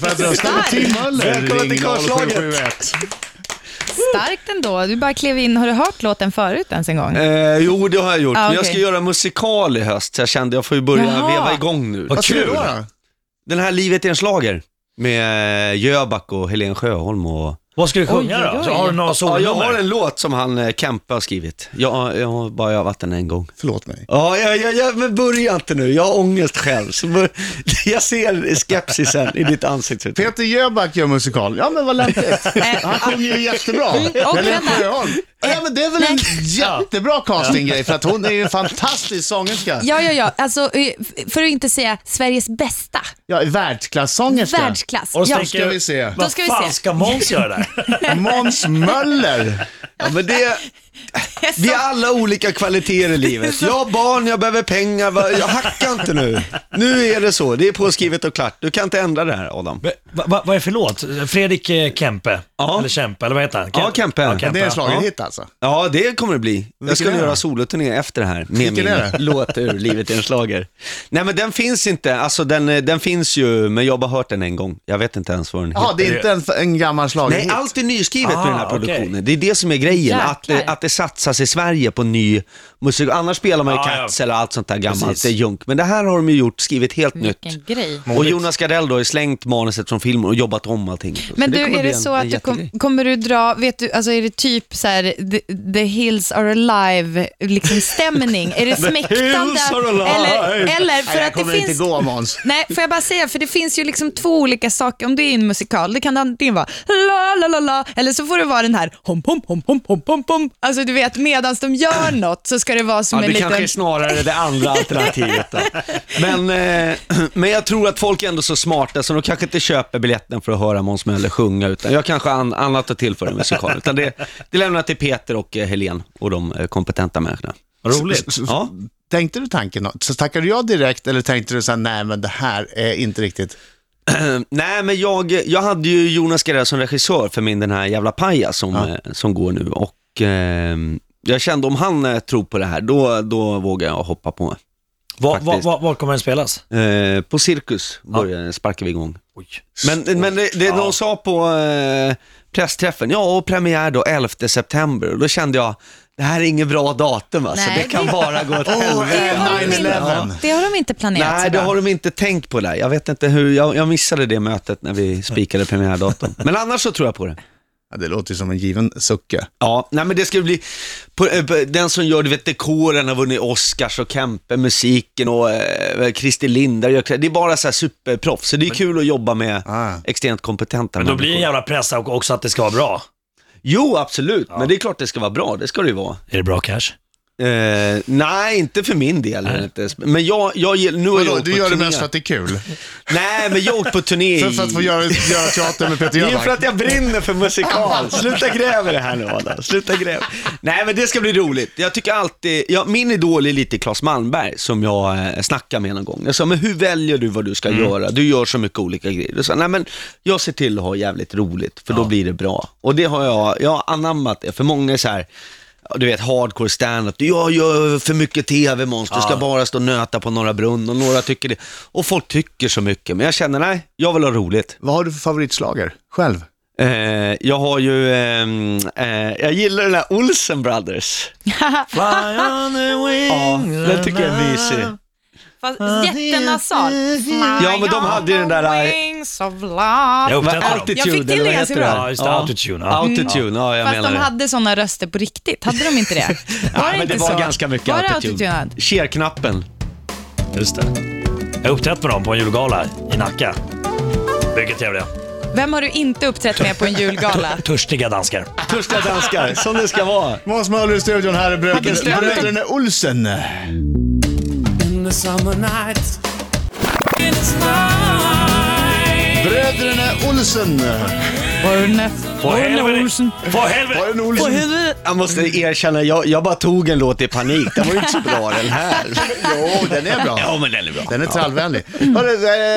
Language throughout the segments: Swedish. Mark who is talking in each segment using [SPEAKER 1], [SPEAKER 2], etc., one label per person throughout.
[SPEAKER 1] Välkommen till Möller.
[SPEAKER 2] Välkommen till
[SPEAKER 3] Ring
[SPEAKER 2] Karlslaget.
[SPEAKER 3] 0771.
[SPEAKER 1] Starkt ändå. Du bara klev in. Har du hört låten förut ens en gång?
[SPEAKER 2] Eh, jo, det har jag gjort.
[SPEAKER 1] Ah,
[SPEAKER 2] Men jag
[SPEAKER 1] okej.
[SPEAKER 2] ska göra musikal i höst, så jag kände jag får ju börja
[SPEAKER 1] Jaha.
[SPEAKER 2] veva igång nu.
[SPEAKER 3] Vad
[SPEAKER 4] Vad ska du
[SPEAKER 3] kul.
[SPEAKER 4] göra?
[SPEAKER 2] Den här Livet är en slager med eh, Jöback och Helen Sjöholm och...
[SPEAKER 3] Vad ska du sjunga
[SPEAKER 1] Oj,
[SPEAKER 3] då?
[SPEAKER 1] oj, oj.
[SPEAKER 3] Så Har du några
[SPEAKER 2] Ja, jag har
[SPEAKER 3] solonummer?
[SPEAKER 2] en låt som han eh, Kempe har skrivit. Jag, jag har bara övat den en gång.
[SPEAKER 4] Förlåt mig.
[SPEAKER 2] Ja, jag, jag, jag, men börja inte nu. Jag har ångest själv. Så bör, jag ser skepsisen i ditt ansiktsuttryck.
[SPEAKER 4] Peter Jöback gör musikal. Ja, men vad lämpligt. Han sjunger ju jättebra.
[SPEAKER 1] Eh, ah. och Eh,
[SPEAKER 4] Helen
[SPEAKER 1] Brenda.
[SPEAKER 4] Sjöholm. Ja, men det är väl en jättebra castinggrej, för att hon är ju en fantastisk sångerska.
[SPEAKER 1] Ja, ja, ja. Alltså, eh, f- för att inte säga Sveriges bästa.
[SPEAKER 4] Ja, världsklassångerska.
[SPEAKER 1] Världsklass.
[SPEAKER 3] Och så
[SPEAKER 1] Ja.
[SPEAKER 3] tänker
[SPEAKER 4] Ska vi se.
[SPEAKER 1] Då
[SPEAKER 3] Vad
[SPEAKER 1] ska vi
[SPEAKER 3] fan
[SPEAKER 1] se.
[SPEAKER 3] ska Måns göra där?
[SPEAKER 4] Måns Möller.
[SPEAKER 2] Ja, men det, vi har alla olika kvaliteter i livet. Jag har barn, jag behöver pengar. va- Jag hackar inte nu. Nu är det så. Det är påskrivet och klart. Du kan inte ändra det här, Adam.
[SPEAKER 3] Men va, va, vad är det för låt? Fredrik eh, Kempe?
[SPEAKER 2] Ja.
[SPEAKER 3] Eller Kempe, eller vad heter han?
[SPEAKER 2] Ja, Kempe.
[SPEAKER 4] Det är en
[SPEAKER 3] ja.
[SPEAKER 4] schlagerhit alltså.
[SPEAKER 2] Ja, det kommer det bli. Jag ska
[SPEAKER 4] är
[SPEAKER 2] nu
[SPEAKER 4] det?
[SPEAKER 2] göra soloturné efter det här med
[SPEAKER 4] Vilken
[SPEAKER 2] min
[SPEAKER 4] är det?
[SPEAKER 2] låt ur Livet är en slager. Nej, men den finns inte. Alltså, den, eh, den finns ju, men jag har bara hört den en gång. Jag vet inte ens vad den heter.
[SPEAKER 4] Jaha, det är inte en, en gammal
[SPEAKER 2] Nej,
[SPEAKER 4] schlagerhit.
[SPEAKER 2] allt är nyskrivet
[SPEAKER 3] Ah,
[SPEAKER 2] med den här
[SPEAKER 3] okej.
[SPEAKER 2] produktionen. Det är det som är grejen, att det,
[SPEAKER 1] Jäklar.
[SPEAKER 2] att det satsas i Sverige på ny musik. Annars spelar man ju
[SPEAKER 3] Ja, ja.
[SPEAKER 2] Cats eller allt sånt där gammalt,
[SPEAKER 3] Precis.
[SPEAKER 2] det är junk. Men det här har de ju gjort, skrivit helt nytt.
[SPEAKER 1] Vilken grej.
[SPEAKER 2] Och Jonas Gardell då har ju slängt manuset från filmen och jobbat om allting. Så
[SPEAKER 1] Men
[SPEAKER 2] det
[SPEAKER 1] du,
[SPEAKER 2] kommer
[SPEAKER 1] är
[SPEAKER 2] bli
[SPEAKER 1] det
[SPEAKER 2] en-
[SPEAKER 1] så
[SPEAKER 2] en
[SPEAKER 1] att du kom,
[SPEAKER 2] jättegrej.
[SPEAKER 1] kommer du dra, vet du, alltså är det typ så här the, the hills are alive liksom stämning? Är det smäktande?
[SPEAKER 2] hills are alive.
[SPEAKER 1] Eller, eller för
[SPEAKER 4] Nej, jag
[SPEAKER 1] att det
[SPEAKER 4] kommer
[SPEAKER 1] finns...
[SPEAKER 4] inte gå Måns.
[SPEAKER 1] Nej, får jag bara säga, för det finns ju liksom två olika saker. Om det är en musikal, det kan det antingen vara la la la la, eller så får det vara den här hom hom hom hom hom hom hom. Alltså du vet, medan de gör något så ska det vara som
[SPEAKER 2] Ja, det
[SPEAKER 1] en liten...
[SPEAKER 2] kanske är snarare det andra alternativet. Då. Men, eh, men jag tror att folk är ändå så smarta så de kanske inte köper biljetten för att höra Måns Möller sjunga, utan jag kanske har an, annat att tillföra i musikalen. Utan det, det lämnar jag till Peter och eh, Helen och de eh, kompetenta människorna.
[SPEAKER 3] Vad roligt.
[SPEAKER 2] Ja.
[SPEAKER 4] Tänkte du tanken då? Så tackade jag direkt eller tänkte du så här, nej men det här är inte riktigt.
[SPEAKER 2] Ehm, Nej, men jag, jag hade ju Jonas Gardell som regissör för min den här jävla pajas som, eh, som går nu och eh, jag kände om han eh, tror på det här, då, då vågar jag hoppa på.
[SPEAKER 3] Var, var,
[SPEAKER 2] Faktiskt.
[SPEAKER 3] var, var kommer den spelas?
[SPEAKER 2] Eh, på Cirkus börjar, sparkar vi igång.
[SPEAKER 3] Oj.
[SPEAKER 2] Men, men det, det de sa på eh, pressträffen, ja och premiär då 11 september, och då kände jag, det här är ingen bra datum alltså,
[SPEAKER 1] Nej,
[SPEAKER 2] det kan
[SPEAKER 1] det-
[SPEAKER 2] bara gå åt
[SPEAKER 1] det,
[SPEAKER 2] helvete.
[SPEAKER 1] har de inte,
[SPEAKER 4] 9-11.
[SPEAKER 1] det har de inte planerat
[SPEAKER 2] Nej,
[SPEAKER 1] så
[SPEAKER 2] det
[SPEAKER 1] bra.
[SPEAKER 2] har de inte tänkt på där. Jag vet inte hur, jag, jag missade det mötet när vi
[SPEAKER 4] Mm.
[SPEAKER 2] spikade premiärdatum. Men annars så tror jag på det.
[SPEAKER 4] Ja, det låter ju som en given sucke.
[SPEAKER 2] Ja, nej men det ska bli, på, eh, på- den som gör, du vet, dekoren har vunnit Oscars och Kempe, musiken och eh, Christer Lindar gör, det är bara så här superproffs. Så det är kul att jobba med
[SPEAKER 4] Ah.
[SPEAKER 2] extremt kompetenta
[SPEAKER 3] Men då blir det en jävla press också att det ska vara bra.
[SPEAKER 2] Jo, absolut. Men det är klart det ska vara bra. Det ska det ju vara.
[SPEAKER 3] Är det bra cash?
[SPEAKER 2] Eh, nej, inte för min del. Inte. Men jag, jag, gill- nu har jag
[SPEAKER 4] Vadå,
[SPEAKER 2] åkt
[SPEAKER 4] du
[SPEAKER 2] på
[SPEAKER 4] gör det
[SPEAKER 2] turné.
[SPEAKER 4] mest för att det är kul?
[SPEAKER 2] Nej, men jag har åkt på turné
[SPEAKER 4] För, för att få göra, göra teater med Peter
[SPEAKER 2] Det är ju för
[SPEAKER 4] Jöback?
[SPEAKER 2] att jag brinner för musikal. Sluta gräva det här nu Adam. Sluta gräva. Nej men det ska bli roligt. Jag tycker alltid, ja, min idol är lite Claes Malmberg som jag eh, snackade med någon gång. Jag sa, men hur väljer du vad du ska göra? Du gör så mycket olika grejer. Du sa, nej men jag ser till att ha jävligt roligt för då blir det bra. Och det har jag, jag har anammat det. För många är så här, ja, du vet hardcore standup, jag gör för mycket tv Måns, du ska bara stå och nöta på några Brunn och några tycker det. Och folk tycker så mycket, men jag känner nej, jag vill ha roligt.
[SPEAKER 4] Vad har du för favoritslager själv?
[SPEAKER 2] Eh, jag har ju, ehm, eh, jag gillar den här Olsen Brothers.
[SPEAKER 3] Fly on the wings.
[SPEAKER 2] den tycker jag är mysig.
[SPEAKER 1] Fast jättenasal.
[SPEAKER 2] Ja, men de hade ju den där-
[SPEAKER 1] Wings of love.
[SPEAKER 3] Jag upptäckte dem.
[SPEAKER 2] Altitude,
[SPEAKER 1] Jag fick till
[SPEAKER 2] eller
[SPEAKER 1] det
[SPEAKER 2] vad
[SPEAKER 1] ganska
[SPEAKER 2] heter Mm.
[SPEAKER 1] bra.
[SPEAKER 2] den?
[SPEAKER 3] Ja, just det, Altitude, ja.
[SPEAKER 2] Altitude, ja jag
[SPEAKER 1] Fast
[SPEAKER 2] menar
[SPEAKER 1] de
[SPEAKER 2] det.
[SPEAKER 1] hade sådana röster på riktigt, hade de inte det? Var
[SPEAKER 2] Ja,
[SPEAKER 1] det
[SPEAKER 2] men
[SPEAKER 1] inte
[SPEAKER 2] det var
[SPEAKER 1] så?
[SPEAKER 2] ganska mycket
[SPEAKER 1] var det
[SPEAKER 2] altitude.
[SPEAKER 1] altitude?
[SPEAKER 2] Cheerknappen.
[SPEAKER 3] Just det. Jag uppträdde med dem på en julgala i Nacka. Mycket trevliga.
[SPEAKER 1] Vem har du inte uppträtt med på en julgala?
[SPEAKER 3] Törstiga danskar.
[SPEAKER 2] Törstiga danskar, som det ska vara.
[SPEAKER 4] Måns Möller i studion, här är
[SPEAKER 1] Hade strömmen-
[SPEAKER 4] bröder- bröderna Olsen. Bröderna Olsen.
[SPEAKER 1] Borne.
[SPEAKER 3] På helvete! På
[SPEAKER 4] Var det
[SPEAKER 3] helvete!
[SPEAKER 4] en Olsen?
[SPEAKER 2] Jag måste erkänna, jag, jag bara tog en låt i panik. Den var ju inte så bra den här.
[SPEAKER 4] Jo, den är bra.
[SPEAKER 2] Ja men den är bra.
[SPEAKER 4] Den är trallvänlig. Hörru,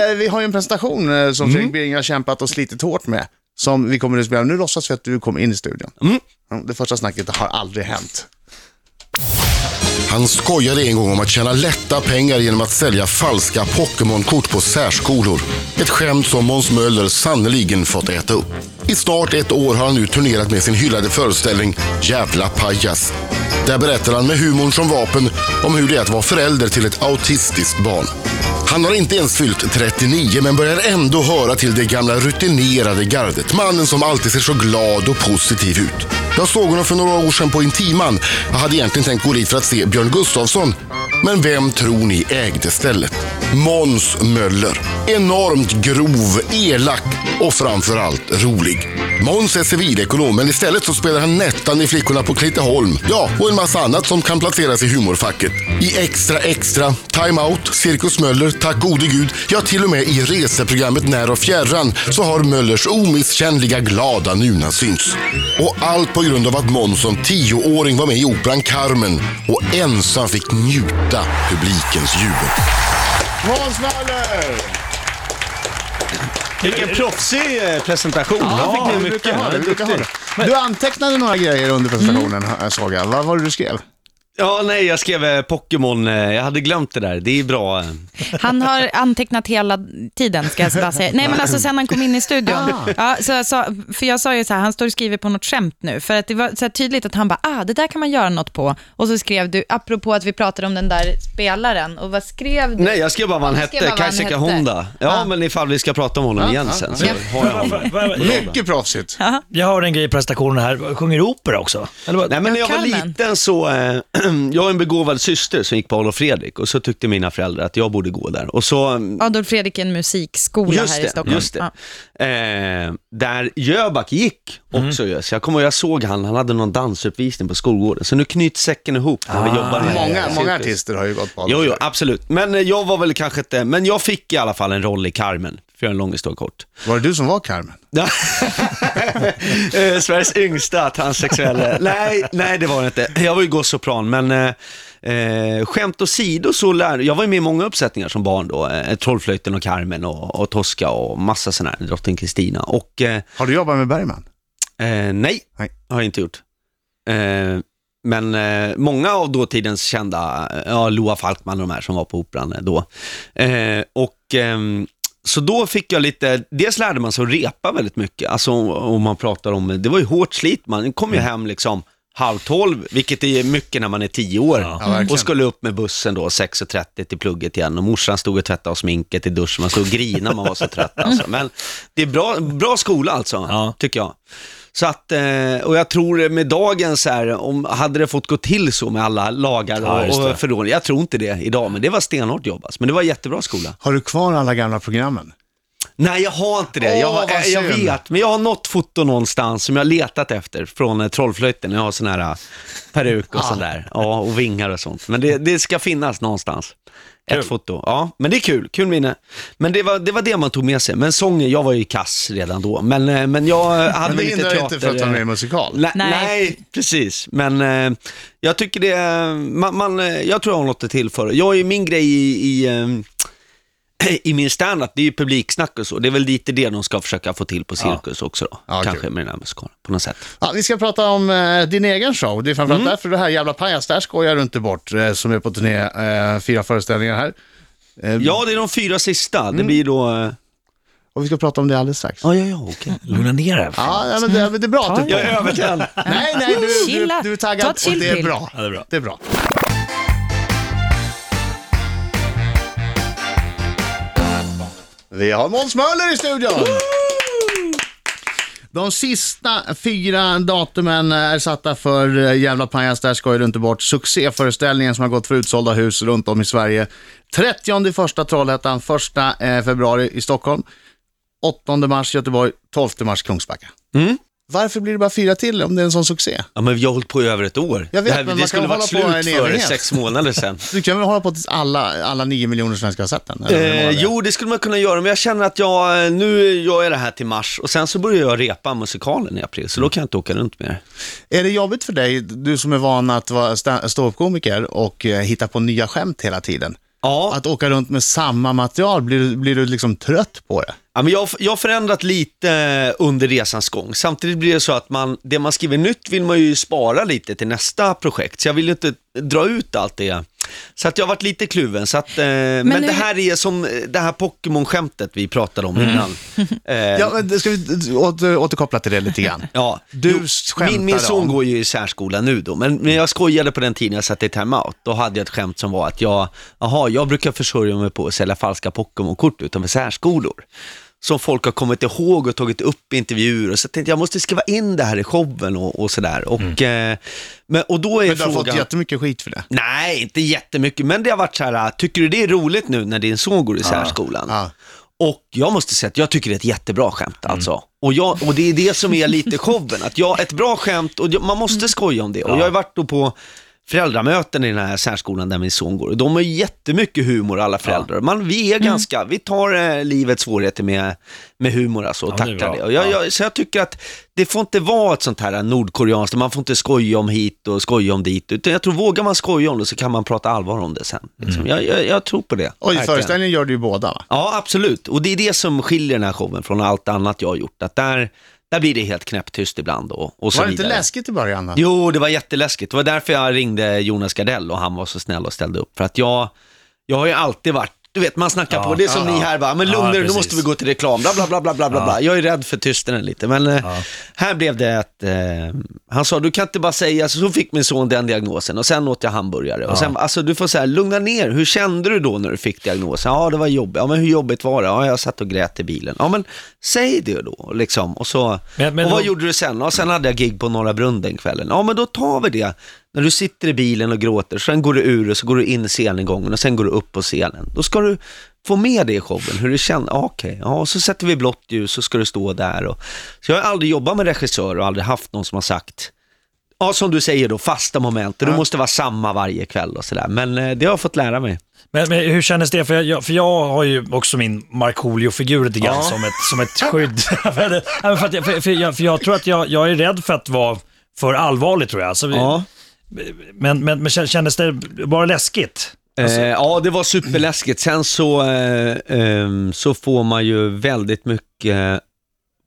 [SPEAKER 4] eh, vi har ju en presentation eh, som Fredrik Bering har kämpat och slitit hårt med. Som vi kommer att spela. Nu låtsas vi att du kommer in i studion. Mm, Det första snacket har aldrig hänt.
[SPEAKER 5] Han skojade en gång om att tjäna lätta pengar genom att sälja falska Pokémon-kort på särskolor. Ett skämt som Måns Möller sannoliken fått äta upp. I snart ett år har han nu turnerat med sin hyllade föreställning Jävla pajas. Där berättar han med humorn som vapen om hur det är att vara förälder till ett autistiskt barn. Han har inte ens fyllt 39 men börjar ändå höra till det gamla rutinerade gardet. Mannen som alltid ser så glad och positiv ut. Jag såg honom för några år sedan på Intiman. Jag hade egentligen tänkt gå dit för att se Björn Gustafsson. Men vem tror ni ägde stället? Måns Möller. Enormt grov, elak och framförallt rolig. Måns är civilekonom men istället så spelar han Nettan i Flickorna på Klitteholm. Ja, och en massa annat som kan placeras i humorfacket. I Extra Extra, Time Out, Cirkus Möller, Tack gode gud, ja till och med i reseprogrammet När och fjärran så har Möllers omisskännliga glada nuna syns. Och allt på grund av att Måns som tioåring var med i operan Carmen och ensam fick njuta publikens jubel.
[SPEAKER 4] Måns Möller!
[SPEAKER 2] Vilken proffsig eh, presentation. Ja, fick ni mycket.
[SPEAKER 4] Ja,
[SPEAKER 2] Han är
[SPEAKER 4] du brukar ha
[SPEAKER 2] duktig.
[SPEAKER 4] det. Du antecknade några grejer under presentationen, mm. såg jag. Vad var det du skrev?
[SPEAKER 2] Ja, nej, jag skrev eh, Pokémon. eh, Jag hade glömt det där. Det är bra. eh.
[SPEAKER 1] Han har antecknat hela tiden ska jag bara säga. Nej men alltså sen han kom in i studion. Ja, så jag sa, för jag sa ju så här, han står och skriver på något skämt nu. För att det var så här tydligt att han bara, ah det där kan man göra något på. Och så skrev du, apropå att vi pratade om den där spelaren, och vad skrev du?
[SPEAKER 2] Nej, jag skrev bara vad han
[SPEAKER 1] skrev bara
[SPEAKER 2] hette.
[SPEAKER 1] vad han
[SPEAKER 2] Kaiseka
[SPEAKER 1] hette.
[SPEAKER 2] Honda. Ja,
[SPEAKER 1] Ja.
[SPEAKER 2] men ifall vi ska prata om honom
[SPEAKER 4] Ja,
[SPEAKER 2] igen
[SPEAKER 4] ja,
[SPEAKER 2] sen
[SPEAKER 4] ja.
[SPEAKER 2] så har jag honom.
[SPEAKER 3] Mm.
[SPEAKER 4] Mycket proffsigt.
[SPEAKER 3] Jag hörde en grej i presentationen här. Sjunger opera också? Eller vad?
[SPEAKER 2] Nej, men när jag var
[SPEAKER 1] Carmen.
[SPEAKER 2] liten så, eh, jag har en begåvad syster som gick på Adolf Fredrik och så tyckte mina föräldrar att jag borde gå där. Och så, mm,
[SPEAKER 1] Adolf Fredrik är en musikskola
[SPEAKER 2] just
[SPEAKER 1] här i
[SPEAKER 2] det,
[SPEAKER 1] Stockholm.
[SPEAKER 2] just det.
[SPEAKER 1] Ja.
[SPEAKER 2] Eh, där Jöback gick också ju. Så jag kommer ihåg, jag såg han, han hade någon dansuppvisning på skolgården. Så nu knyts säcken ihop när vi jobbar med
[SPEAKER 4] Många,
[SPEAKER 2] cirkus.
[SPEAKER 4] många artister har ju gått på
[SPEAKER 2] Jo, jo, absolut. Men eh, jag var väl kanske inte, men jag fick i alla fall en roll i Carmen, för att göra en lång historia kort.
[SPEAKER 4] Var det du som var Carmen?
[SPEAKER 2] Ja. eh, Sveriges yngsta transsexuelle. Nej, nej, det var det inte. Jag var ju gossopran, men eh, eh, skämt åsido så lär, jag var ju med i många uppsättningar som barn då. Eh, Trollflöjten och Carmen och, och Tosca och massa sådana här, Drottning Kristina. Och eh,
[SPEAKER 4] Har du jobbat med Bergman?
[SPEAKER 2] eh, nej,
[SPEAKER 4] Nej.
[SPEAKER 2] har jag inte gjort. Eh, men eh, många av dåtidens kända, eh, ja, Loa Falkman och de här som var på operan eh, då. Eh, och ehm, så då fick jag lite, dels lärde man sig att repa väldigt mycket, alltså om, om man pratar om, det var ju hårt slit, man kom
[SPEAKER 4] Mm.
[SPEAKER 2] ju hem liksom halv tolv, vilket är mycket när man är tio år.
[SPEAKER 3] Ja.
[SPEAKER 4] Ja, verkligen.
[SPEAKER 2] och skulle upp med bussen då 6.30 till plugget igen och morsan stod och tvättade av sminket i duschen, man stod och grinade, man var så trött alltså. Men det är bra, bra skola alltså,
[SPEAKER 3] Ja.
[SPEAKER 2] tycker jag. Så att, eh, och jag tror med dagens så här, om, hade det fått gå till så med alla lagar
[SPEAKER 3] Ja, just
[SPEAKER 2] och,
[SPEAKER 3] det.
[SPEAKER 2] och förordningar, jag tror inte det idag, men det var stenhårt jobb alltså. Men det var jättebra skola.
[SPEAKER 4] Har du kvar alla gamla programmen?
[SPEAKER 2] Nej, jag har inte det.
[SPEAKER 4] Åh,
[SPEAKER 2] jag, har,
[SPEAKER 4] vad
[SPEAKER 2] jag
[SPEAKER 4] synd.
[SPEAKER 2] vet, men jag har något foto någonstans som jag har letat efter från eh, Trollflöjten. Jag har sån här eh, peruk
[SPEAKER 4] Ah.
[SPEAKER 2] och sånt där. Ja, och vingar och sånt. Men det, det ska finnas någonstans.
[SPEAKER 3] Kul.
[SPEAKER 2] Ett foto. Ja, men det är kul. Kul minne. Men det var det, var det man tog med sig. Men sången, jag var ju kass redan då. Men, eh, men jag eh, hade
[SPEAKER 4] Men
[SPEAKER 2] väl
[SPEAKER 4] det
[SPEAKER 2] lite
[SPEAKER 4] hindrar
[SPEAKER 2] teater...
[SPEAKER 4] inte för att han är musikal.
[SPEAKER 2] Nej,
[SPEAKER 1] Nej.
[SPEAKER 2] nej, precis. Men eh, jag tycker det, man, man, eh, jag tror jag har något att tillföra. Jag är ju min grej i, i, eh, i min standup, det är ju publiksnack och så. Det är väl lite det de ska försöka få till på cirkus också då.
[SPEAKER 4] Ja,
[SPEAKER 2] Kanske
[SPEAKER 4] kul.
[SPEAKER 2] med den här musikalen, på något sätt.
[SPEAKER 4] Ja, vi ska prata om eh, din egen show. Det är framförallt
[SPEAKER 2] Mm.
[SPEAKER 4] därför det här jävla pajas, där skojar du inte bort, eh, som är på turné, eh, fyra föreställningar här. Eh,
[SPEAKER 2] Ja, det är de fyra sista. Det
[SPEAKER 4] Mm.
[SPEAKER 2] blir då... eh,
[SPEAKER 4] Och vi ska prata om det alldeles strax.
[SPEAKER 2] Ja, ja, ja, okej.
[SPEAKER 3] Lugna ner dig.
[SPEAKER 4] Ja, nej, men det, men det är bra att du
[SPEAKER 2] Jag är övertänd.
[SPEAKER 4] Nej, nej, du, du,
[SPEAKER 1] Chilla.
[SPEAKER 4] du är
[SPEAKER 1] Ta
[SPEAKER 4] taggad
[SPEAKER 1] ett
[SPEAKER 4] och det är
[SPEAKER 1] chillpill.
[SPEAKER 4] bra.
[SPEAKER 3] Ja, det är bra.
[SPEAKER 4] Det är bra. Vi har Måns Möller i studion! De sista fyra datumen är satta för eh, Jävla pajas, där skojar du inte bort. Succéföreställningen som har gått för utsålda hus runt om i Sverige. 30 i första Trollhättan, 1 eh, februari i Stockholm, 8 mars Göteborg, 12 mars Kungsbacka.
[SPEAKER 2] Mm.
[SPEAKER 4] Varför blir det bara fyra till om det är en sån succé?
[SPEAKER 2] Ja, men vi har hållit på i över ett år.
[SPEAKER 4] Jag vet,
[SPEAKER 2] det här,
[SPEAKER 4] men man
[SPEAKER 2] det
[SPEAKER 4] kan
[SPEAKER 2] skulle varit
[SPEAKER 4] hålla på
[SPEAKER 2] slut
[SPEAKER 4] en
[SPEAKER 2] för
[SPEAKER 4] evighet.
[SPEAKER 2] sex månader sedan.
[SPEAKER 4] Du kan väl hålla på tills alla, alla nio miljoner svenskar har sett den? eller hur många
[SPEAKER 2] Eh,
[SPEAKER 4] det är?
[SPEAKER 2] jo, det skulle man kunna göra, men jag känner att jag, eh, nu gör jag det här till mars och sen så börjar jag repa musikalen i april, så då kan jag inte åka runt mer.
[SPEAKER 4] Är det jobbigt för dig, du som är van att vara sta- ståuppkomiker och eh, hitta på nya skämt hela tiden?
[SPEAKER 2] Ja.
[SPEAKER 4] Att åka runt med samma material, blir, du- blir du liksom trött på det?
[SPEAKER 2] Ja, men jag, har- jag har förändrat lite eh, under resans gång. Samtidigt blir det så att man, det man skriver nytt vill man ju spara lite till nästa projekt. Så jag vill ju inte dra ut allt det. Så att jag har varit lite kluven. Så att, eh, men
[SPEAKER 1] nu-
[SPEAKER 2] det här är som eh, det här Pokémon-skämtet vi pratade om innan. Eh,
[SPEAKER 4] Ja, men det ska vi åter, återkoppla till det lite grann.
[SPEAKER 2] Ja,
[SPEAKER 4] Du
[SPEAKER 2] Jo,
[SPEAKER 4] skämtar
[SPEAKER 2] min, min son
[SPEAKER 4] om-
[SPEAKER 2] går ju i särskola nu då, men, men jag skojade på den tiden jag satt i timeout. Då hade jag ett skämt som var att jag, aha, jag brukar försörja mig på att sälja falska Pokémon-kort utanför särskolor. Som folk har kommit ihåg och tagit upp i intervjuer. Och så tänkte jag, jag måste skriva in det här i showen och, och sådär. Och, eh, men, och då är
[SPEAKER 4] Mm. Men du har
[SPEAKER 2] frågan...
[SPEAKER 4] fått jättemycket skit för det.
[SPEAKER 2] Nej, inte jättemycket, men det har varit så här, tycker du det är roligt nu när din son går i särskolan?
[SPEAKER 4] Ja.
[SPEAKER 2] Och jag måste säga att jag tycker det är ett jättebra skämt
[SPEAKER 3] Mm.
[SPEAKER 2] alltså. Och, jag, och det är det som är lite showen, att jag, ett bra skämt, och jag- man
[SPEAKER 3] Mm.
[SPEAKER 2] måste skoja om det. Och jag har varit då på föräldramöten i den här särskolan där min son går. De har ju jättemycket humor alla föräldrar. Man, vi
[SPEAKER 3] Mm.
[SPEAKER 2] är ganska, vi tar eh, livets svårigheter med, med humor alltså och
[SPEAKER 3] Ja, det är
[SPEAKER 2] tacklar
[SPEAKER 3] bra.
[SPEAKER 2] det. Och jag, jag, så jag tycker att det får inte vara ett sånt här nordkoreanskt, man får inte skoja om hit och skoja om dit. Utan jag tror, vågar man skoja om det så kan man prata allvar om det sen. Liksom.
[SPEAKER 3] Mm.
[SPEAKER 2] Jag, jag, jag tror på det.
[SPEAKER 4] Och i
[SPEAKER 2] verkligen.
[SPEAKER 4] föreställningen gör du ju båda va?
[SPEAKER 2] Ja, absolut. Och det är det som skiljer den här showen från allt annat jag har gjort. Att där, där blir det helt knäpptyst ibland och, och så
[SPEAKER 4] Var det inte
[SPEAKER 2] vidare.
[SPEAKER 4] läskigt i början? Då?
[SPEAKER 2] Jo, det var jätteläskigt. Det var därför jag ringde Jonas Gardell och han var så snäll och ställde upp. För att jag, jag har ju alltid varit, du vet man snackar
[SPEAKER 3] Ja,
[SPEAKER 2] på, det är som
[SPEAKER 3] ja,
[SPEAKER 2] ni
[SPEAKER 3] ja.
[SPEAKER 2] här va, men
[SPEAKER 3] Ja,
[SPEAKER 2] lugna er, nu
[SPEAKER 3] precis.
[SPEAKER 2] måste vi gå till reklam, bla bla bla bla bla. bla, bla. Jag är rädd för tystnaden lite, men eh, här blev det att, eh, han sa du kan inte bara säga, så, så fick min son den diagnosen och sen åt jag hamburgare. Och sen, alltså du får säga, lugna ner, hur kände du då när du fick diagnosen? Ja, det var jobbigt, ja men hur jobbigt var det? Ja, jag satt och grät i bilen. Ja, men säg det då, liksom. Och så,
[SPEAKER 3] Men- men
[SPEAKER 2] och vad
[SPEAKER 3] då-
[SPEAKER 2] gjorde gjorde du sen? Och sen hade jag gig på Norra Brunn den kvällen. Ja, men då tar vi det. När du sitter i bilen och gråter, sen går du ur och så går du in i sceningången och sen går du upp på scenen. Då ska du få med det i showen, hur du känner. Ja, Okej, ja, och så sätter vi blått ljus och ska du stå där. Och... Så jag har aldrig jobbat med regissör och aldrig haft någon som har sagt, ja som du säger då, fasta moment. Du måste vara samma varje kväll och sådär. Men eh, det har jag fått lära mig.
[SPEAKER 3] Men, men hur kändes det? För jag- jag, för jag har ju också min Markoolio-figur lite grann som, ett, som ett skydd. för, det- Nej, men för, att jag, för, för, jag, för jag tror att jag, jag är rädd för att vara för allvarlig tror jag. Alltså,
[SPEAKER 2] Ja.
[SPEAKER 3] men, men, men kän- kändes det bara läskigt?
[SPEAKER 2] Eh, ja, det var superläskigt. Sen så, eh, ehm, så får man ju väldigt mycket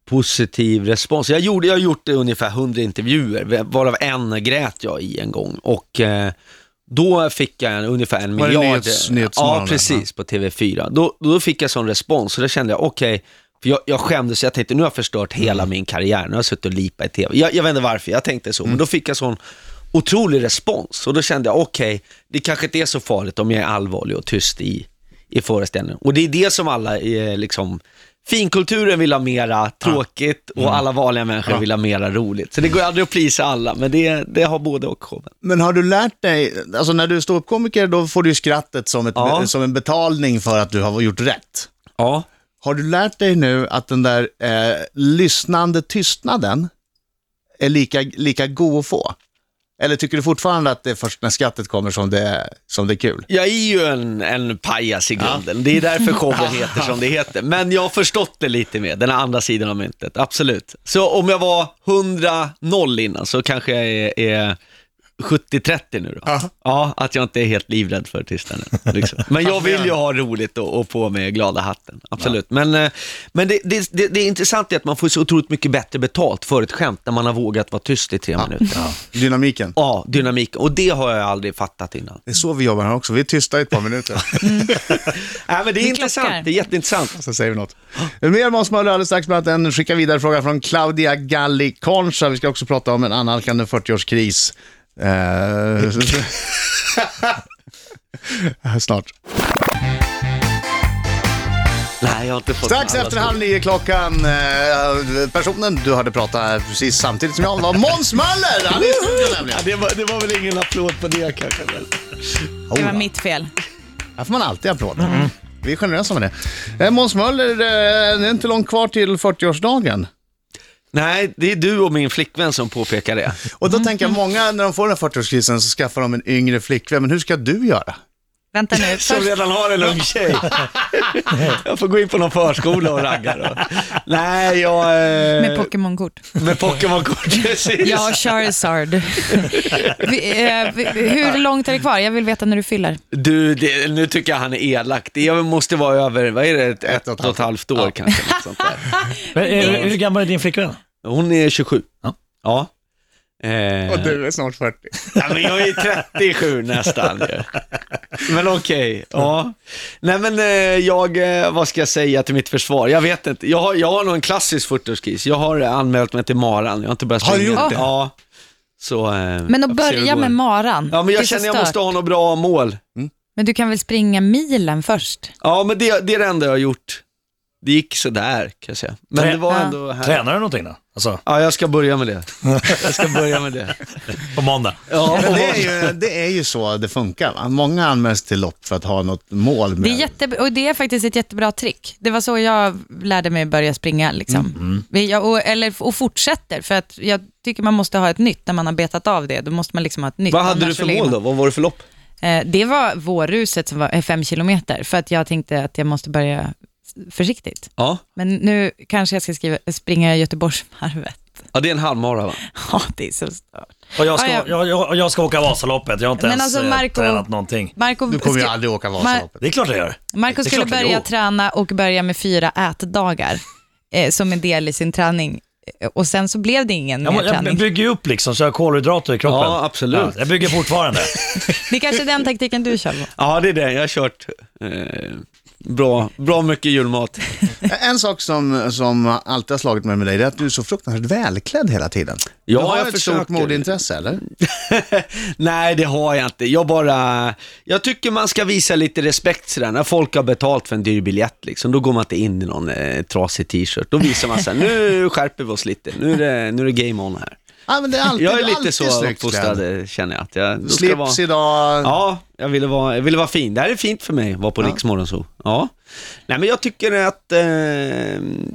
[SPEAKER 2] positiv respons. Jag, gjorde, jag har gjort eh, ungefär 100 intervjuer, varav en grät jag i en gång. Och eh, då fick jag en, ungefär en
[SPEAKER 4] Var det
[SPEAKER 2] miljard.
[SPEAKER 4] nyhets- Nyhetsmorgon
[SPEAKER 2] ja,
[SPEAKER 4] där?
[SPEAKER 2] precis, på TV4. Då, då fick jag sån respons och då kände jag, okej, för jag, jag skämdes, jag tänkte nu har jag förstört hela
[SPEAKER 4] Mm.
[SPEAKER 2] min karriär, nu har jag suttit och lipat i TV. Jag, jag vet inte varför, jag tänkte
[SPEAKER 4] Mm.
[SPEAKER 2] så, men då fick jag sån otrolig respons och då kände jag, okej, det kanske inte är så farligt om jag är allvarlig och tyst i, i föreställningen. Och det är det som alla, eh, liksom, finkulturen vill ha mera tråkigt
[SPEAKER 4] Mm.
[SPEAKER 2] och alla vanliga människor vill ha mera roligt. Så det går ju aldrig att plisa alla, men det, det har både och showen.
[SPEAKER 4] Men har du lärt dig, alltså när du är ståuppkomiker då får du ju skrattet som, ett,
[SPEAKER 2] Ja.
[SPEAKER 4] som en betalning för att du har gjort rätt.
[SPEAKER 2] Ja.
[SPEAKER 4] Har du lärt dig nu att den där eh, lyssnande tystnaden är lika, lika god att få? Eller tycker du fortfarande att det är först när skrattet kommer som det är, som det är kul?
[SPEAKER 2] Jag är ju en, en pajas i grunden. Det är därför showen heter som det heter. Men jag har förstått det lite mer, den andra sidan av myntet. Absolut. Så om jag var 100-0 innan så kanske jag är, är 70-30 nu då. Ja, att jag inte är helt livrädd för tystnaden. Liksom. Men jag vill ju ha roligt och, och på mig glada hatten. Absolut. Men, eh, men det, det, det, det är intressant är att man får så otroligt mycket bättre betalt för ett skämt när man har vågat vara tyst i tre minuter. Ja,
[SPEAKER 4] Dynamiken.
[SPEAKER 2] dynamik. Och det har jag aldrig fattat innan.
[SPEAKER 4] Det är så vi jobbar här också, vi är tysta i ett par minuter.
[SPEAKER 2] Nej, men det är
[SPEAKER 1] Det
[SPEAKER 2] intressant.
[SPEAKER 1] klockar.
[SPEAKER 2] Det är jätteintressant.
[SPEAKER 4] så säger vi något. Mer Måns Möller alldeles strax, bland annat en skicka vidare fråga från Claudia Galli Concha. Vi ska också prata om en annalkande 40-årskris. Eh, Snart.
[SPEAKER 2] Nej, jag har inte fått
[SPEAKER 4] Strax
[SPEAKER 2] alla
[SPEAKER 4] efter
[SPEAKER 2] svar.
[SPEAKER 4] halv nio klockan. Eh, personen du hörde prata precis samtidigt som jag var Måns Möller. Han är i studion nämligen.
[SPEAKER 2] Det var, det var väl ingen applåd på det kanske? väl? Oh.
[SPEAKER 1] Det var mitt fel.
[SPEAKER 4] Här får man alltid applåder. Vi är generösa med det. Eh, Måns Möller, eh, det är inte långt kvar till 40-årsdagen.
[SPEAKER 2] Nej, det är du och min flickvän som påpekar det.
[SPEAKER 4] Och då tänker jag, många när de får den här 40-årskrisen så skaffar de en yngre flickvän, men hur ska du göra?
[SPEAKER 1] Vänta nu.
[SPEAKER 2] Som
[SPEAKER 1] Först,
[SPEAKER 2] redan har en ung tjej. Jag får gå in på någon förskola och ragga då. Nej, jag... eh,
[SPEAKER 1] med Pokémon-kort.
[SPEAKER 2] Med Pokémon-kort, precis.
[SPEAKER 1] Ja, Charizard. Vi, eh, vi- hur långt är det kvar? Jag vill veta när du fyller.
[SPEAKER 2] Du, det, nu tycker jag han är elak. Det måste vara över, vad är det, ett, ett och ett halvt år kanske. Något sånt där.
[SPEAKER 3] Men, eh, hur gammal är din flickvän?
[SPEAKER 2] Hon är 27.
[SPEAKER 3] Ja.
[SPEAKER 2] Ja. Eh,
[SPEAKER 4] Och du är snart 40.
[SPEAKER 2] ja, men jag är 37 nästan ju. Men okej, ja. Nej men eh, jag, eh, vad ska jag säga till mitt försvar? Jag vet inte, jag har, jag har nog en klassisk 40-årskris. Jag har eh, anmält mig till maran, jag har inte börjat
[SPEAKER 5] Har du
[SPEAKER 2] springa.
[SPEAKER 5] gjort det?
[SPEAKER 2] Ja. Så, eh,
[SPEAKER 1] Men att
[SPEAKER 2] jag får se hur det
[SPEAKER 1] börja
[SPEAKER 2] går.
[SPEAKER 1] med maran.
[SPEAKER 2] Ja men
[SPEAKER 1] det är
[SPEAKER 2] jag
[SPEAKER 1] så
[SPEAKER 2] känner jag
[SPEAKER 1] stört.
[SPEAKER 2] måste ha något bra mål.
[SPEAKER 1] Men du kan väl springa milen först?
[SPEAKER 2] Ja men det, det är det enda jag har gjort. Det gick sådär kan jag säga. Men
[SPEAKER 3] Trä-
[SPEAKER 2] det var
[SPEAKER 1] Ja.
[SPEAKER 2] ändå här.
[SPEAKER 3] Tränar du någonting då? Alltså,
[SPEAKER 2] Ja, jag ska börja med det. Jag ska börja med det.
[SPEAKER 3] på måndag?
[SPEAKER 2] Ja,
[SPEAKER 4] Men det, är ju, det är ju så det funkar. Va? Många anmäls till lopp för att ha något mål. Med.
[SPEAKER 1] Det är, jätte, och det är faktiskt ett jättebra trick. Det var så jag lärde mig börja springa. Liksom.
[SPEAKER 2] Mm,
[SPEAKER 1] Jag, och, eller, och fortsätter, för att jag tycker man måste ha ett nytt när man har betat av det. Då måste man liksom ha ett nytt.
[SPEAKER 2] Vad hade
[SPEAKER 1] annars
[SPEAKER 2] du
[SPEAKER 1] så
[SPEAKER 2] för
[SPEAKER 1] ligger
[SPEAKER 2] mål
[SPEAKER 1] man-
[SPEAKER 2] då? Vad var det för lopp?
[SPEAKER 1] Eh, Det var vårruset som var eh, fem kilometer, för att jag tänkte att jag måste börja s- försiktigt.
[SPEAKER 2] Ja,
[SPEAKER 1] Men nu kanske jag ska skriva, springa Göteborgsvarvet.
[SPEAKER 2] ja det är en halvmara va?
[SPEAKER 1] Ja, det är så stört.
[SPEAKER 3] Och jag, ska,
[SPEAKER 1] Ja, ja.
[SPEAKER 3] jag, jag, och jag ska åka Vasaloppet, jag har inte
[SPEAKER 1] Men
[SPEAKER 3] ens
[SPEAKER 1] alltså,
[SPEAKER 3] eh,
[SPEAKER 1] Marco-
[SPEAKER 3] tränat någonting.
[SPEAKER 1] Marco,
[SPEAKER 4] Du kommer ju
[SPEAKER 1] sku-
[SPEAKER 4] aldrig åka
[SPEAKER 3] Det
[SPEAKER 4] Vasaloppet.
[SPEAKER 3] är klart jag gör. Det
[SPEAKER 1] Marco
[SPEAKER 3] är
[SPEAKER 1] skulle
[SPEAKER 3] klart det
[SPEAKER 1] börja
[SPEAKER 3] går.
[SPEAKER 1] träna och börja med fyra ätdagar eh, som en del i sin träning. Eh, Och sen så blev det ingen
[SPEAKER 3] Jag,
[SPEAKER 1] mer
[SPEAKER 3] må- jag
[SPEAKER 1] träning.
[SPEAKER 3] bygger ju upp liksom så jag har kolhydrater i kroppen.
[SPEAKER 2] Ja, absolut.
[SPEAKER 3] jag bygger fortfarande.
[SPEAKER 1] Det är kanske är den taktiken du kör på.
[SPEAKER 2] Ja, det är det. Jag har kört eh, bra, bra mycket julmat.
[SPEAKER 4] En sak som, som alltid har slagit mig med dig det är att du är så fruktansvärt välklädd hela tiden.
[SPEAKER 2] Ja,
[SPEAKER 4] du har
[SPEAKER 2] jag
[SPEAKER 4] ett
[SPEAKER 2] försöker.
[SPEAKER 4] stort modeintresse eller?
[SPEAKER 2] Nej, det har jag inte. Jag bara... Jag tycker man ska visa lite respekt sådär. När folk har betalt för en dyr biljett, liksom, då går man inte in i någon eh, trasig t-shirt. Då visar man såhär, nu skärper vi oss lite. Nu är det, nu är det game on här.
[SPEAKER 4] Ja, men det är alltid,
[SPEAKER 2] Jag är
[SPEAKER 4] alltid
[SPEAKER 2] lite så
[SPEAKER 4] snyggt
[SPEAKER 2] uppfostrad,
[SPEAKER 4] klädd.
[SPEAKER 2] eh, känner jag. Att jag då ska
[SPEAKER 4] Slips
[SPEAKER 2] vara...
[SPEAKER 4] idag.
[SPEAKER 2] Ja, jag ville vara, jag ville vara fin. Det här är fint för mig, vara på Riksmorgon så. Ja. Nej men jag tycker att, eh,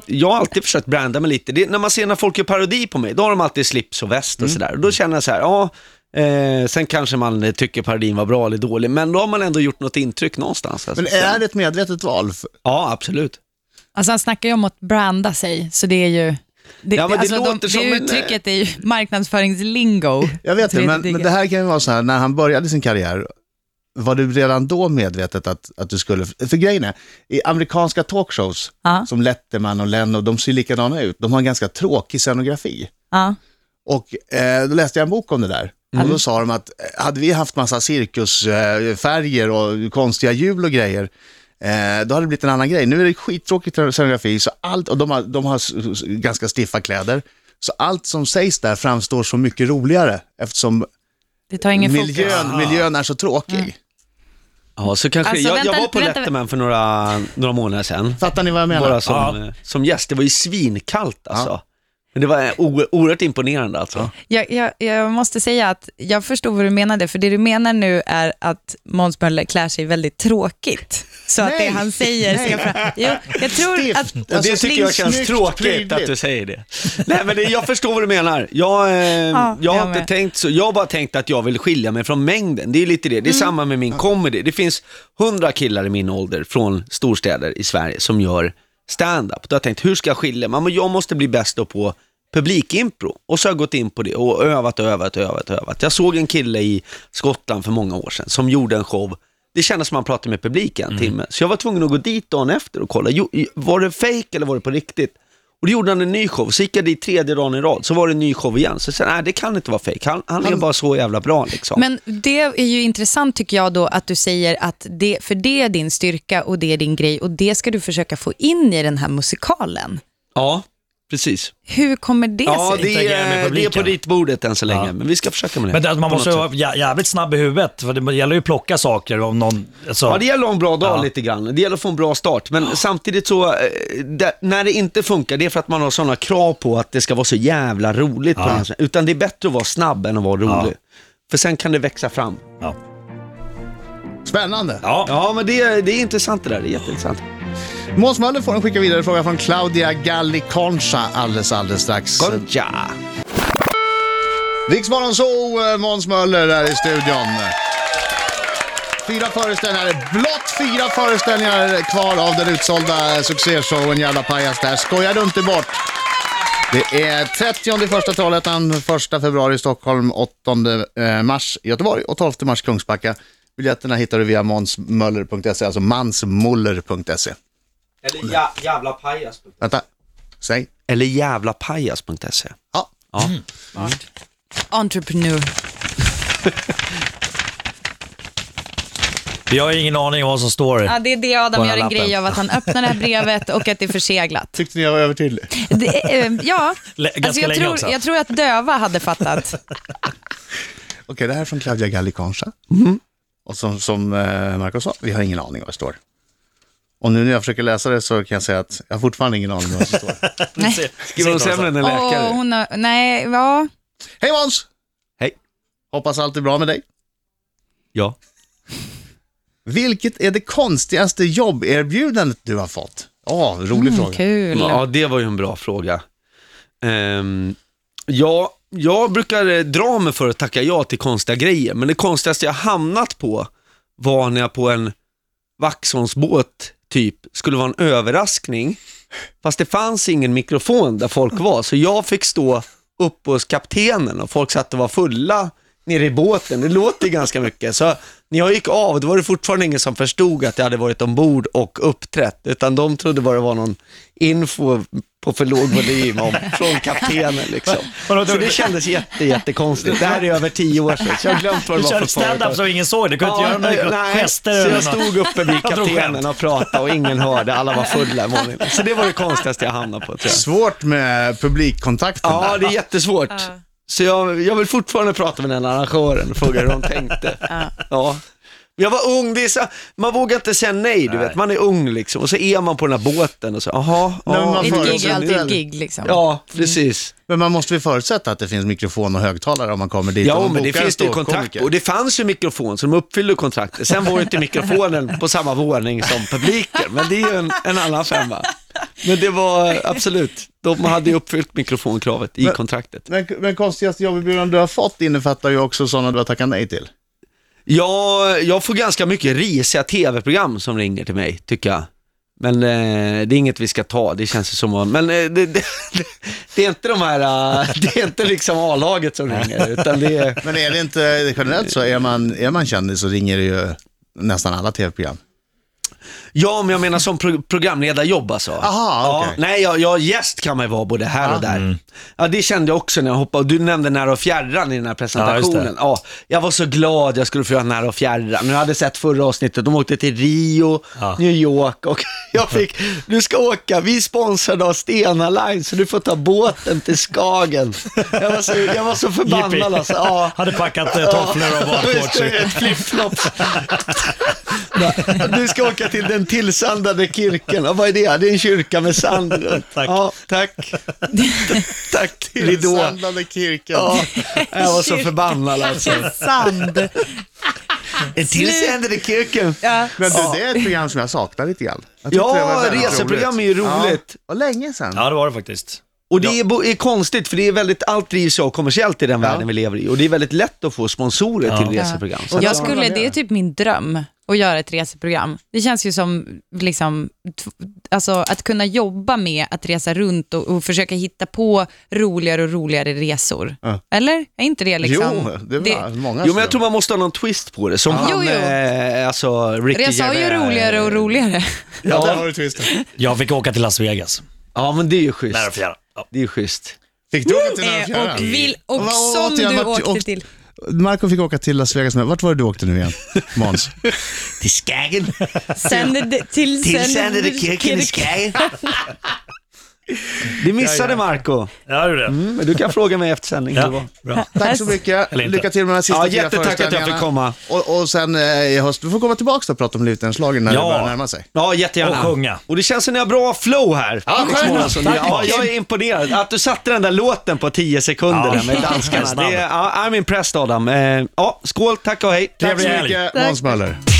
[SPEAKER 2] jag har alltid försökt branda mig lite. Det, när man ser när folk gör parodi på mig, då har de alltid slips och väst och
[SPEAKER 4] Mm.
[SPEAKER 2] sådär. Och då känner jag så här, ja, eh, sen kanske man eh, tycker parodin var bra eller dålig, men då har man ändå gjort något intryck någonstans. Alltså.
[SPEAKER 4] Men är det ett medvetet val?
[SPEAKER 2] Ja, absolut.
[SPEAKER 1] Alltså han snackar ju om att branda sig, så det är ju... Det,
[SPEAKER 2] Ja, men det
[SPEAKER 1] alltså,
[SPEAKER 2] låter som
[SPEAKER 1] det
[SPEAKER 2] en- eh,
[SPEAKER 1] uttrycket är ju marknadsföringslingo.
[SPEAKER 4] Jag vet
[SPEAKER 1] Tredje
[SPEAKER 4] inte, men, men
[SPEAKER 1] digget.
[SPEAKER 4] det här kan ju vara så här, när han började sin karriär, var du redan då medvetet att, att du skulle, för grejen är, i amerikanska talkshows,
[SPEAKER 1] Ja.
[SPEAKER 4] som Letterman och Leno, de ser likadana ut, de har en ganska tråkig scenografi.
[SPEAKER 1] Ja.
[SPEAKER 4] Och eh, då läste jag en bok om det där. Och då sa de att eh, hade vi haft massa cirkusfärger eh, färger och konstiga hjul och grejer, eh, då hade det blivit en annan grej. Nu är det skittråkigt scenografi, så allt, och de har, de har s- s- ganska stiffa kläder. Så allt som sägs där framstår så mycket roligare eftersom
[SPEAKER 1] Det tar ingen fokus.
[SPEAKER 4] miljön, miljön är så tråkig.
[SPEAKER 2] Ja, så kanske,
[SPEAKER 1] Alltså,
[SPEAKER 2] jag,
[SPEAKER 1] vänta
[SPEAKER 2] jag var
[SPEAKER 1] lite,
[SPEAKER 2] på
[SPEAKER 1] vänta.
[SPEAKER 2] Letterman för några, några månader sedan.
[SPEAKER 4] Fattar ni vad jag menar?
[SPEAKER 2] Bara som,
[SPEAKER 3] Ja.
[SPEAKER 2] eh, som gäst, det var ju svinkallt alltså. Men det var eh, o- oerhört imponerande alltså.
[SPEAKER 1] Jag, jag, jag måste säga att jag förstod vad du menade, för det du menar nu är att Måns Möller klär sig väldigt tråkigt. Så att det
[SPEAKER 4] Nej.
[SPEAKER 1] han säger ska fram... Jo, jag tror
[SPEAKER 4] Stift.
[SPEAKER 1] att...
[SPEAKER 2] Och det
[SPEAKER 4] Alltså,
[SPEAKER 2] tycker jag
[SPEAKER 4] sling-
[SPEAKER 2] känns
[SPEAKER 4] snyggt,
[SPEAKER 2] tråkigt
[SPEAKER 4] prydligt.
[SPEAKER 2] att du säger det. Nej men det, jag förstår vad du menar. Jag, eh, jag
[SPEAKER 1] jag
[SPEAKER 2] har inte
[SPEAKER 1] med.
[SPEAKER 2] tänkt så. Jag har bara tänkt att jag vill skilja mig från mängden. Det är ju lite det. Det är
[SPEAKER 1] Mm.
[SPEAKER 2] samma med min comedy. Det finns hundra killar i min ålder från storstäder i Sverige som gör stand-up. Då har jag tänkt, hur ska jag skilja mig? Men jag måste bli bäst då på publikimpro. Och så har jag gått in på det och övat, övat, övat, övat. Jag såg en kille i Skottland för många år sedan som gjorde en show det kändes som man pratade med publiken
[SPEAKER 1] Mm.
[SPEAKER 2] en timme. Så jag var tvungen att gå dit dagen efter och kolla, jo, var det fake eller var det på riktigt? Och då gjorde han en ny show, så gick jag dit tredje dagen i rad, så var det en ny show igen. Så jag sa, nej det kan inte vara fake. han, han är bara så jävla bra liksom.
[SPEAKER 1] Men det är ju intressant tycker jag då att du säger att det, för det är din styrka och det är din grej och det ska du försöka få in i den här musikalen.
[SPEAKER 2] ja, precis.
[SPEAKER 1] Hur kommer det
[SPEAKER 2] Ja,
[SPEAKER 1] sig?
[SPEAKER 2] det
[SPEAKER 3] Interagera med
[SPEAKER 2] är, det är på
[SPEAKER 3] publiken.
[SPEAKER 2] ritbordet än så länge,
[SPEAKER 3] Ja.
[SPEAKER 2] men vi ska försöka med det.
[SPEAKER 3] Men det, man
[SPEAKER 2] På
[SPEAKER 3] måste
[SPEAKER 2] något
[SPEAKER 3] ju
[SPEAKER 2] sätt.
[SPEAKER 3] vara jä- jävligt snabb i huvudet, för det gäller ju att plocka saker om någon... Alltså,
[SPEAKER 2] Ja, det gäller att ha en bra dag
[SPEAKER 3] Ja.
[SPEAKER 2] lite grann. Det gäller att få en bra start. Men samtidigt så, eh, det, när det inte funkar, det är för att man har sådana krav på att det ska vara så jävla roligt. På den här, utan det är bättre att vara snabb än att vara rolig. För sen kan det växa fram.
[SPEAKER 3] ja.
[SPEAKER 4] Spännande.
[SPEAKER 3] Ja.
[SPEAKER 2] Ja, men det, det är intressant det där. Det är jätteintressant.
[SPEAKER 4] Måns Möller får en skicka vidare fråga från Claudia Galliconcha alldeles, alldeles strax.
[SPEAKER 2] Concha!
[SPEAKER 4] eh, Riksmorgon så Måns Möller där i studion. Fyra föreställningar, blott fyra föreställningar kvar av den utsålda succéshowen Jävla pajas. Där skojar du inte bort. Det är 30 första Trollhättan, 1 februari i Stockholm, 8 eh, mars i Göteborg och 12 mars Kungsbacka. Biljetterna hittar du via mansmuller.se, alltså mansmuller.se.
[SPEAKER 2] Eller ja, jävla pajas.
[SPEAKER 4] Vänta, säg.
[SPEAKER 2] Eller jävlapajas.se.
[SPEAKER 4] Ja,
[SPEAKER 2] Ja.
[SPEAKER 1] Entrepreneur.
[SPEAKER 3] Jag har ingen aning om vad som står.
[SPEAKER 1] Ja, det är det Adam
[SPEAKER 3] Bara
[SPEAKER 1] gör en
[SPEAKER 3] lappen.
[SPEAKER 1] grej av, att han öppnar det här brevet och att det är förseglat.
[SPEAKER 4] tyckte ni jag var övertydlig?
[SPEAKER 1] Det, är, eh, ja,
[SPEAKER 3] Lä- ganska
[SPEAKER 1] jag,
[SPEAKER 3] länge
[SPEAKER 1] tror,
[SPEAKER 3] också.
[SPEAKER 1] jag tror att döva hade fattat.
[SPEAKER 4] Okej, det här är från Claudia Gallicansa.
[SPEAKER 2] Mm-hmm.
[SPEAKER 4] Och som, som eh, Marco sa, vi har ingen aning vad det står. Och nu när jag försöker läsa det så kan jag säga att jag har fortfarande ingen aning vad det står.
[SPEAKER 1] Nej.
[SPEAKER 2] Skriver hon sämre än en läkare?
[SPEAKER 1] Åh, hon har, nej, ja.
[SPEAKER 4] Hej Måns!
[SPEAKER 2] Hej.
[SPEAKER 4] Hoppas allt är bra med dig.
[SPEAKER 2] Ja.
[SPEAKER 4] Vilket är det konstigaste jobberbjudandet du har fått? Ja, rolig
[SPEAKER 1] Mm,
[SPEAKER 4] fråga.
[SPEAKER 1] kul.
[SPEAKER 2] ja, det var ju en bra fråga. Ehm, ja, jag brukar eh, dra mig för att tacka ja till konstiga grejer, men det konstigaste jag hamnat på var när jag på en Vaxholmsbåt typ skulle vara en överraskning, fast det fanns ingen mikrofon där folk var, så jag fick stå uppe hos kaptenen och folk satt och var fulla nere i båten. Det låter ju ganska mycket. Så när jag gick av, då var det fortfarande ingen som förstod att jag hade varit ombord och uppträtt, utan de trodde bara det var någon info på för låg volym om, från kaptenen liksom.
[SPEAKER 3] Vadå,
[SPEAKER 2] Så det kändes jätte, jättekonstigt. Det här är över tio år sedan, så jag har glömt vad det
[SPEAKER 3] Du
[SPEAKER 2] var för
[SPEAKER 3] körde
[SPEAKER 2] företag.
[SPEAKER 3] stand-up så ingen såg. Du kunde inte göra några
[SPEAKER 2] nej,
[SPEAKER 3] gester
[SPEAKER 2] Så
[SPEAKER 3] eller
[SPEAKER 2] jag
[SPEAKER 3] något.
[SPEAKER 2] stod uppe vid
[SPEAKER 3] Jag drog
[SPEAKER 2] kaptenen
[SPEAKER 3] skämt.
[SPEAKER 2] och pratade och ingen hörde, alla var fulla. Malin. Så det var det konstigaste jag hamnade på tror jag.
[SPEAKER 4] Svårt med publikkontakten
[SPEAKER 2] Ja,
[SPEAKER 4] där.
[SPEAKER 2] det är jättesvårt. Så jag, jag vill fortfarande prata med den arrangören och fråga hur de tänkte. Ja. Men Jag var ung, det är så, man vågar inte säga nej, du vet. Man är ung liksom och så är man på den här båten och så, jaha,
[SPEAKER 4] Nej, men
[SPEAKER 2] ja,
[SPEAKER 4] man
[SPEAKER 2] och
[SPEAKER 1] Ett
[SPEAKER 2] så-
[SPEAKER 1] gig är
[SPEAKER 4] föreställer
[SPEAKER 1] alltid ett
[SPEAKER 4] dig.
[SPEAKER 1] gig liksom.
[SPEAKER 2] Ja, precis.
[SPEAKER 4] Men man måste väl förutsätta att det finns mikrofon och högtalare om man kommer dit. Om
[SPEAKER 2] Ja,
[SPEAKER 4] man
[SPEAKER 2] men det
[SPEAKER 4] bokar en
[SPEAKER 2] finns det ju kontrakt
[SPEAKER 4] ståuppkomiker.
[SPEAKER 2] och det fanns ju mikrofon, så de uppfyllde kontraktet. Sen var ju inte mikrofonen på samma våning som publiken, men det är ju en, en annan femma. Men det var absolut, de hade ju uppfyllt mikrofonkravet i kontraktet.
[SPEAKER 4] Men, men konstigaste jobberbjudandet du har fått innefattar ju också sådana du har tackat nej till.
[SPEAKER 2] Jag, jag får ganska mycket risiga tv-program som ringer till mig, tycker jag. Men eh, det är inget vi ska ta, det känns ju som att, men eh, det, det, det är inte de här, eh, det är inte liksom A-laget som ringer, utan det är
[SPEAKER 4] Men är det inte generellt så, är man, är man kändis så ringer det ju nästan alla tv-program.
[SPEAKER 2] Ja, men jag menar som pro programledarjobb alltså.
[SPEAKER 4] Aha, okej.
[SPEAKER 2] ja, nej, jag, jag gäst kan man ju vara både här och där.
[SPEAKER 3] Mm.
[SPEAKER 2] Ja, det kände jag också när jag hoppade. Du nämnde Nära och fjärran i den här
[SPEAKER 3] Ja,
[SPEAKER 2] presentationen.
[SPEAKER 3] just det.
[SPEAKER 2] Ja, jag var så glad jag skulle få göra Nära och fjärran. Jag hade sett förra avsnittet, de åkte till Rio,
[SPEAKER 3] Ja.
[SPEAKER 2] New York och jag fick, du ska åka, vi är sponsrade av Stena Line så du får ta båten till Skagen. Jag var så, jag var så förbannad
[SPEAKER 3] Jippi.
[SPEAKER 2] alltså. Ja.
[SPEAKER 3] Hade packat eh, tofflor och badshorts.
[SPEAKER 2] Ett flipflops. du ska åka till den tillsandade kirken. Och vad är det? Det är en kyrka med sand runt.
[SPEAKER 3] Tack.
[SPEAKER 2] Ja, tack. tack. Ridå.
[SPEAKER 4] Sandlade kirken.
[SPEAKER 2] Ja, jag var så förbannad alltså.
[SPEAKER 1] Sand.
[SPEAKER 2] En tillsandade kirken.
[SPEAKER 1] Ja.
[SPEAKER 4] Men du, det är ett program som jag saknar lite grann. Jag tyckte det var
[SPEAKER 2] Ja,
[SPEAKER 4] väldigt
[SPEAKER 2] reseprogram är ju roligt.
[SPEAKER 4] Ja, och länge sedan.
[SPEAKER 3] Ja, det var det faktiskt.
[SPEAKER 2] Och det är, bo- är konstigt för det är väldigt, allt drivs ju av kommersiellt i den världen vi lever i. Och det är väldigt lätt att få sponsorer till
[SPEAKER 1] Ja.
[SPEAKER 2] reseprogram. Så
[SPEAKER 1] Jag
[SPEAKER 2] att-
[SPEAKER 1] skulle, det är typ min dröm att göra ett reseprogram. Det känns ju som liksom, t- alltså, att kunna jobba med att resa runt och, och försöka hitta på roligare och roligare resor. Eller? Är inte det liksom...
[SPEAKER 4] jo, det var många
[SPEAKER 2] Jo men jag tror man måste ha någon twist på det, som
[SPEAKER 1] Jo,
[SPEAKER 2] han,
[SPEAKER 1] jo.
[SPEAKER 2] eh, alltså Ricky
[SPEAKER 1] Resa har ju
[SPEAKER 2] Gervais.
[SPEAKER 1] roligare och roligare.
[SPEAKER 4] Ja, där har du twisten.
[SPEAKER 3] Jag fick åka till Las Vegas.
[SPEAKER 2] Ja men det är ju schysst.
[SPEAKER 3] Nära fjärran. Ja.
[SPEAKER 2] Det är ju schysst.
[SPEAKER 4] Fick du åka till den här
[SPEAKER 1] Eh,
[SPEAKER 4] fjärran?
[SPEAKER 1] och vill, och
[SPEAKER 4] Vad åt
[SPEAKER 1] som
[SPEAKER 4] jag?
[SPEAKER 1] du
[SPEAKER 4] Vart-
[SPEAKER 1] åkte
[SPEAKER 4] åkte-
[SPEAKER 1] till.
[SPEAKER 4] Marco fick åka till Las Vegas med. Vart var det du åkte nu igen, Måns?
[SPEAKER 2] Till Skagen.
[SPEAKER 1] Sändade, till
[SPEAKER 2] Skagen. Det missade Marco
[SPEAKER 3] Ja, du det.
[SPEAKER 2] Mm, men du kan fråga mig efter sändning. hur det
[SPEAKER 3] Ja,
[SPEAKER 2] var.
[SPEAKER 3] bra.
[SPEAKER 4] Tack så mycket.
[SPEAKER 3] Eller inte.
[SPEAKER 4] Lycka till med de här sista
[SPEAKER 2] Ja,
[SPEAKER 4] fyra
[SPEAKER 2] jättetack att jag fick
[SPEAKER 4] föreställningarna.
[SPEAKER 2] komma.
[SPEAKER 4] Och, och sen eh, i höst, du får komma tillbaka och prata om Lutenslagen när
[SPEAKER 3] Ja.
[SPEAKER 4] det börjar närma sig.
[SPEAKER 2] Ja, jättegärna.
[SPEAKER 3] Och sjunga.
[SPEAKER 2] Och det känns som ni har bra flow här.
[SPEAKER 4] Ja,
[SPEAKER 2] Alex
[SPEAKER 4] skönt.
[SPEAKER 2] Månsson.
[SPEAKER 3] Tack.
[SPEAKER 2] ja, jag är imponerad. Att du satte den där låten på 10 sekunder
[SPEAKER 3] Ja.
[SPEAKER 2] där med danskarna. Det är, ja, I'm impressed Adam. Eh, Ja, skål, tack och hej.
[SPEAKER 3] Trevlig helg.
[SPEAKER 4] Måns Möller.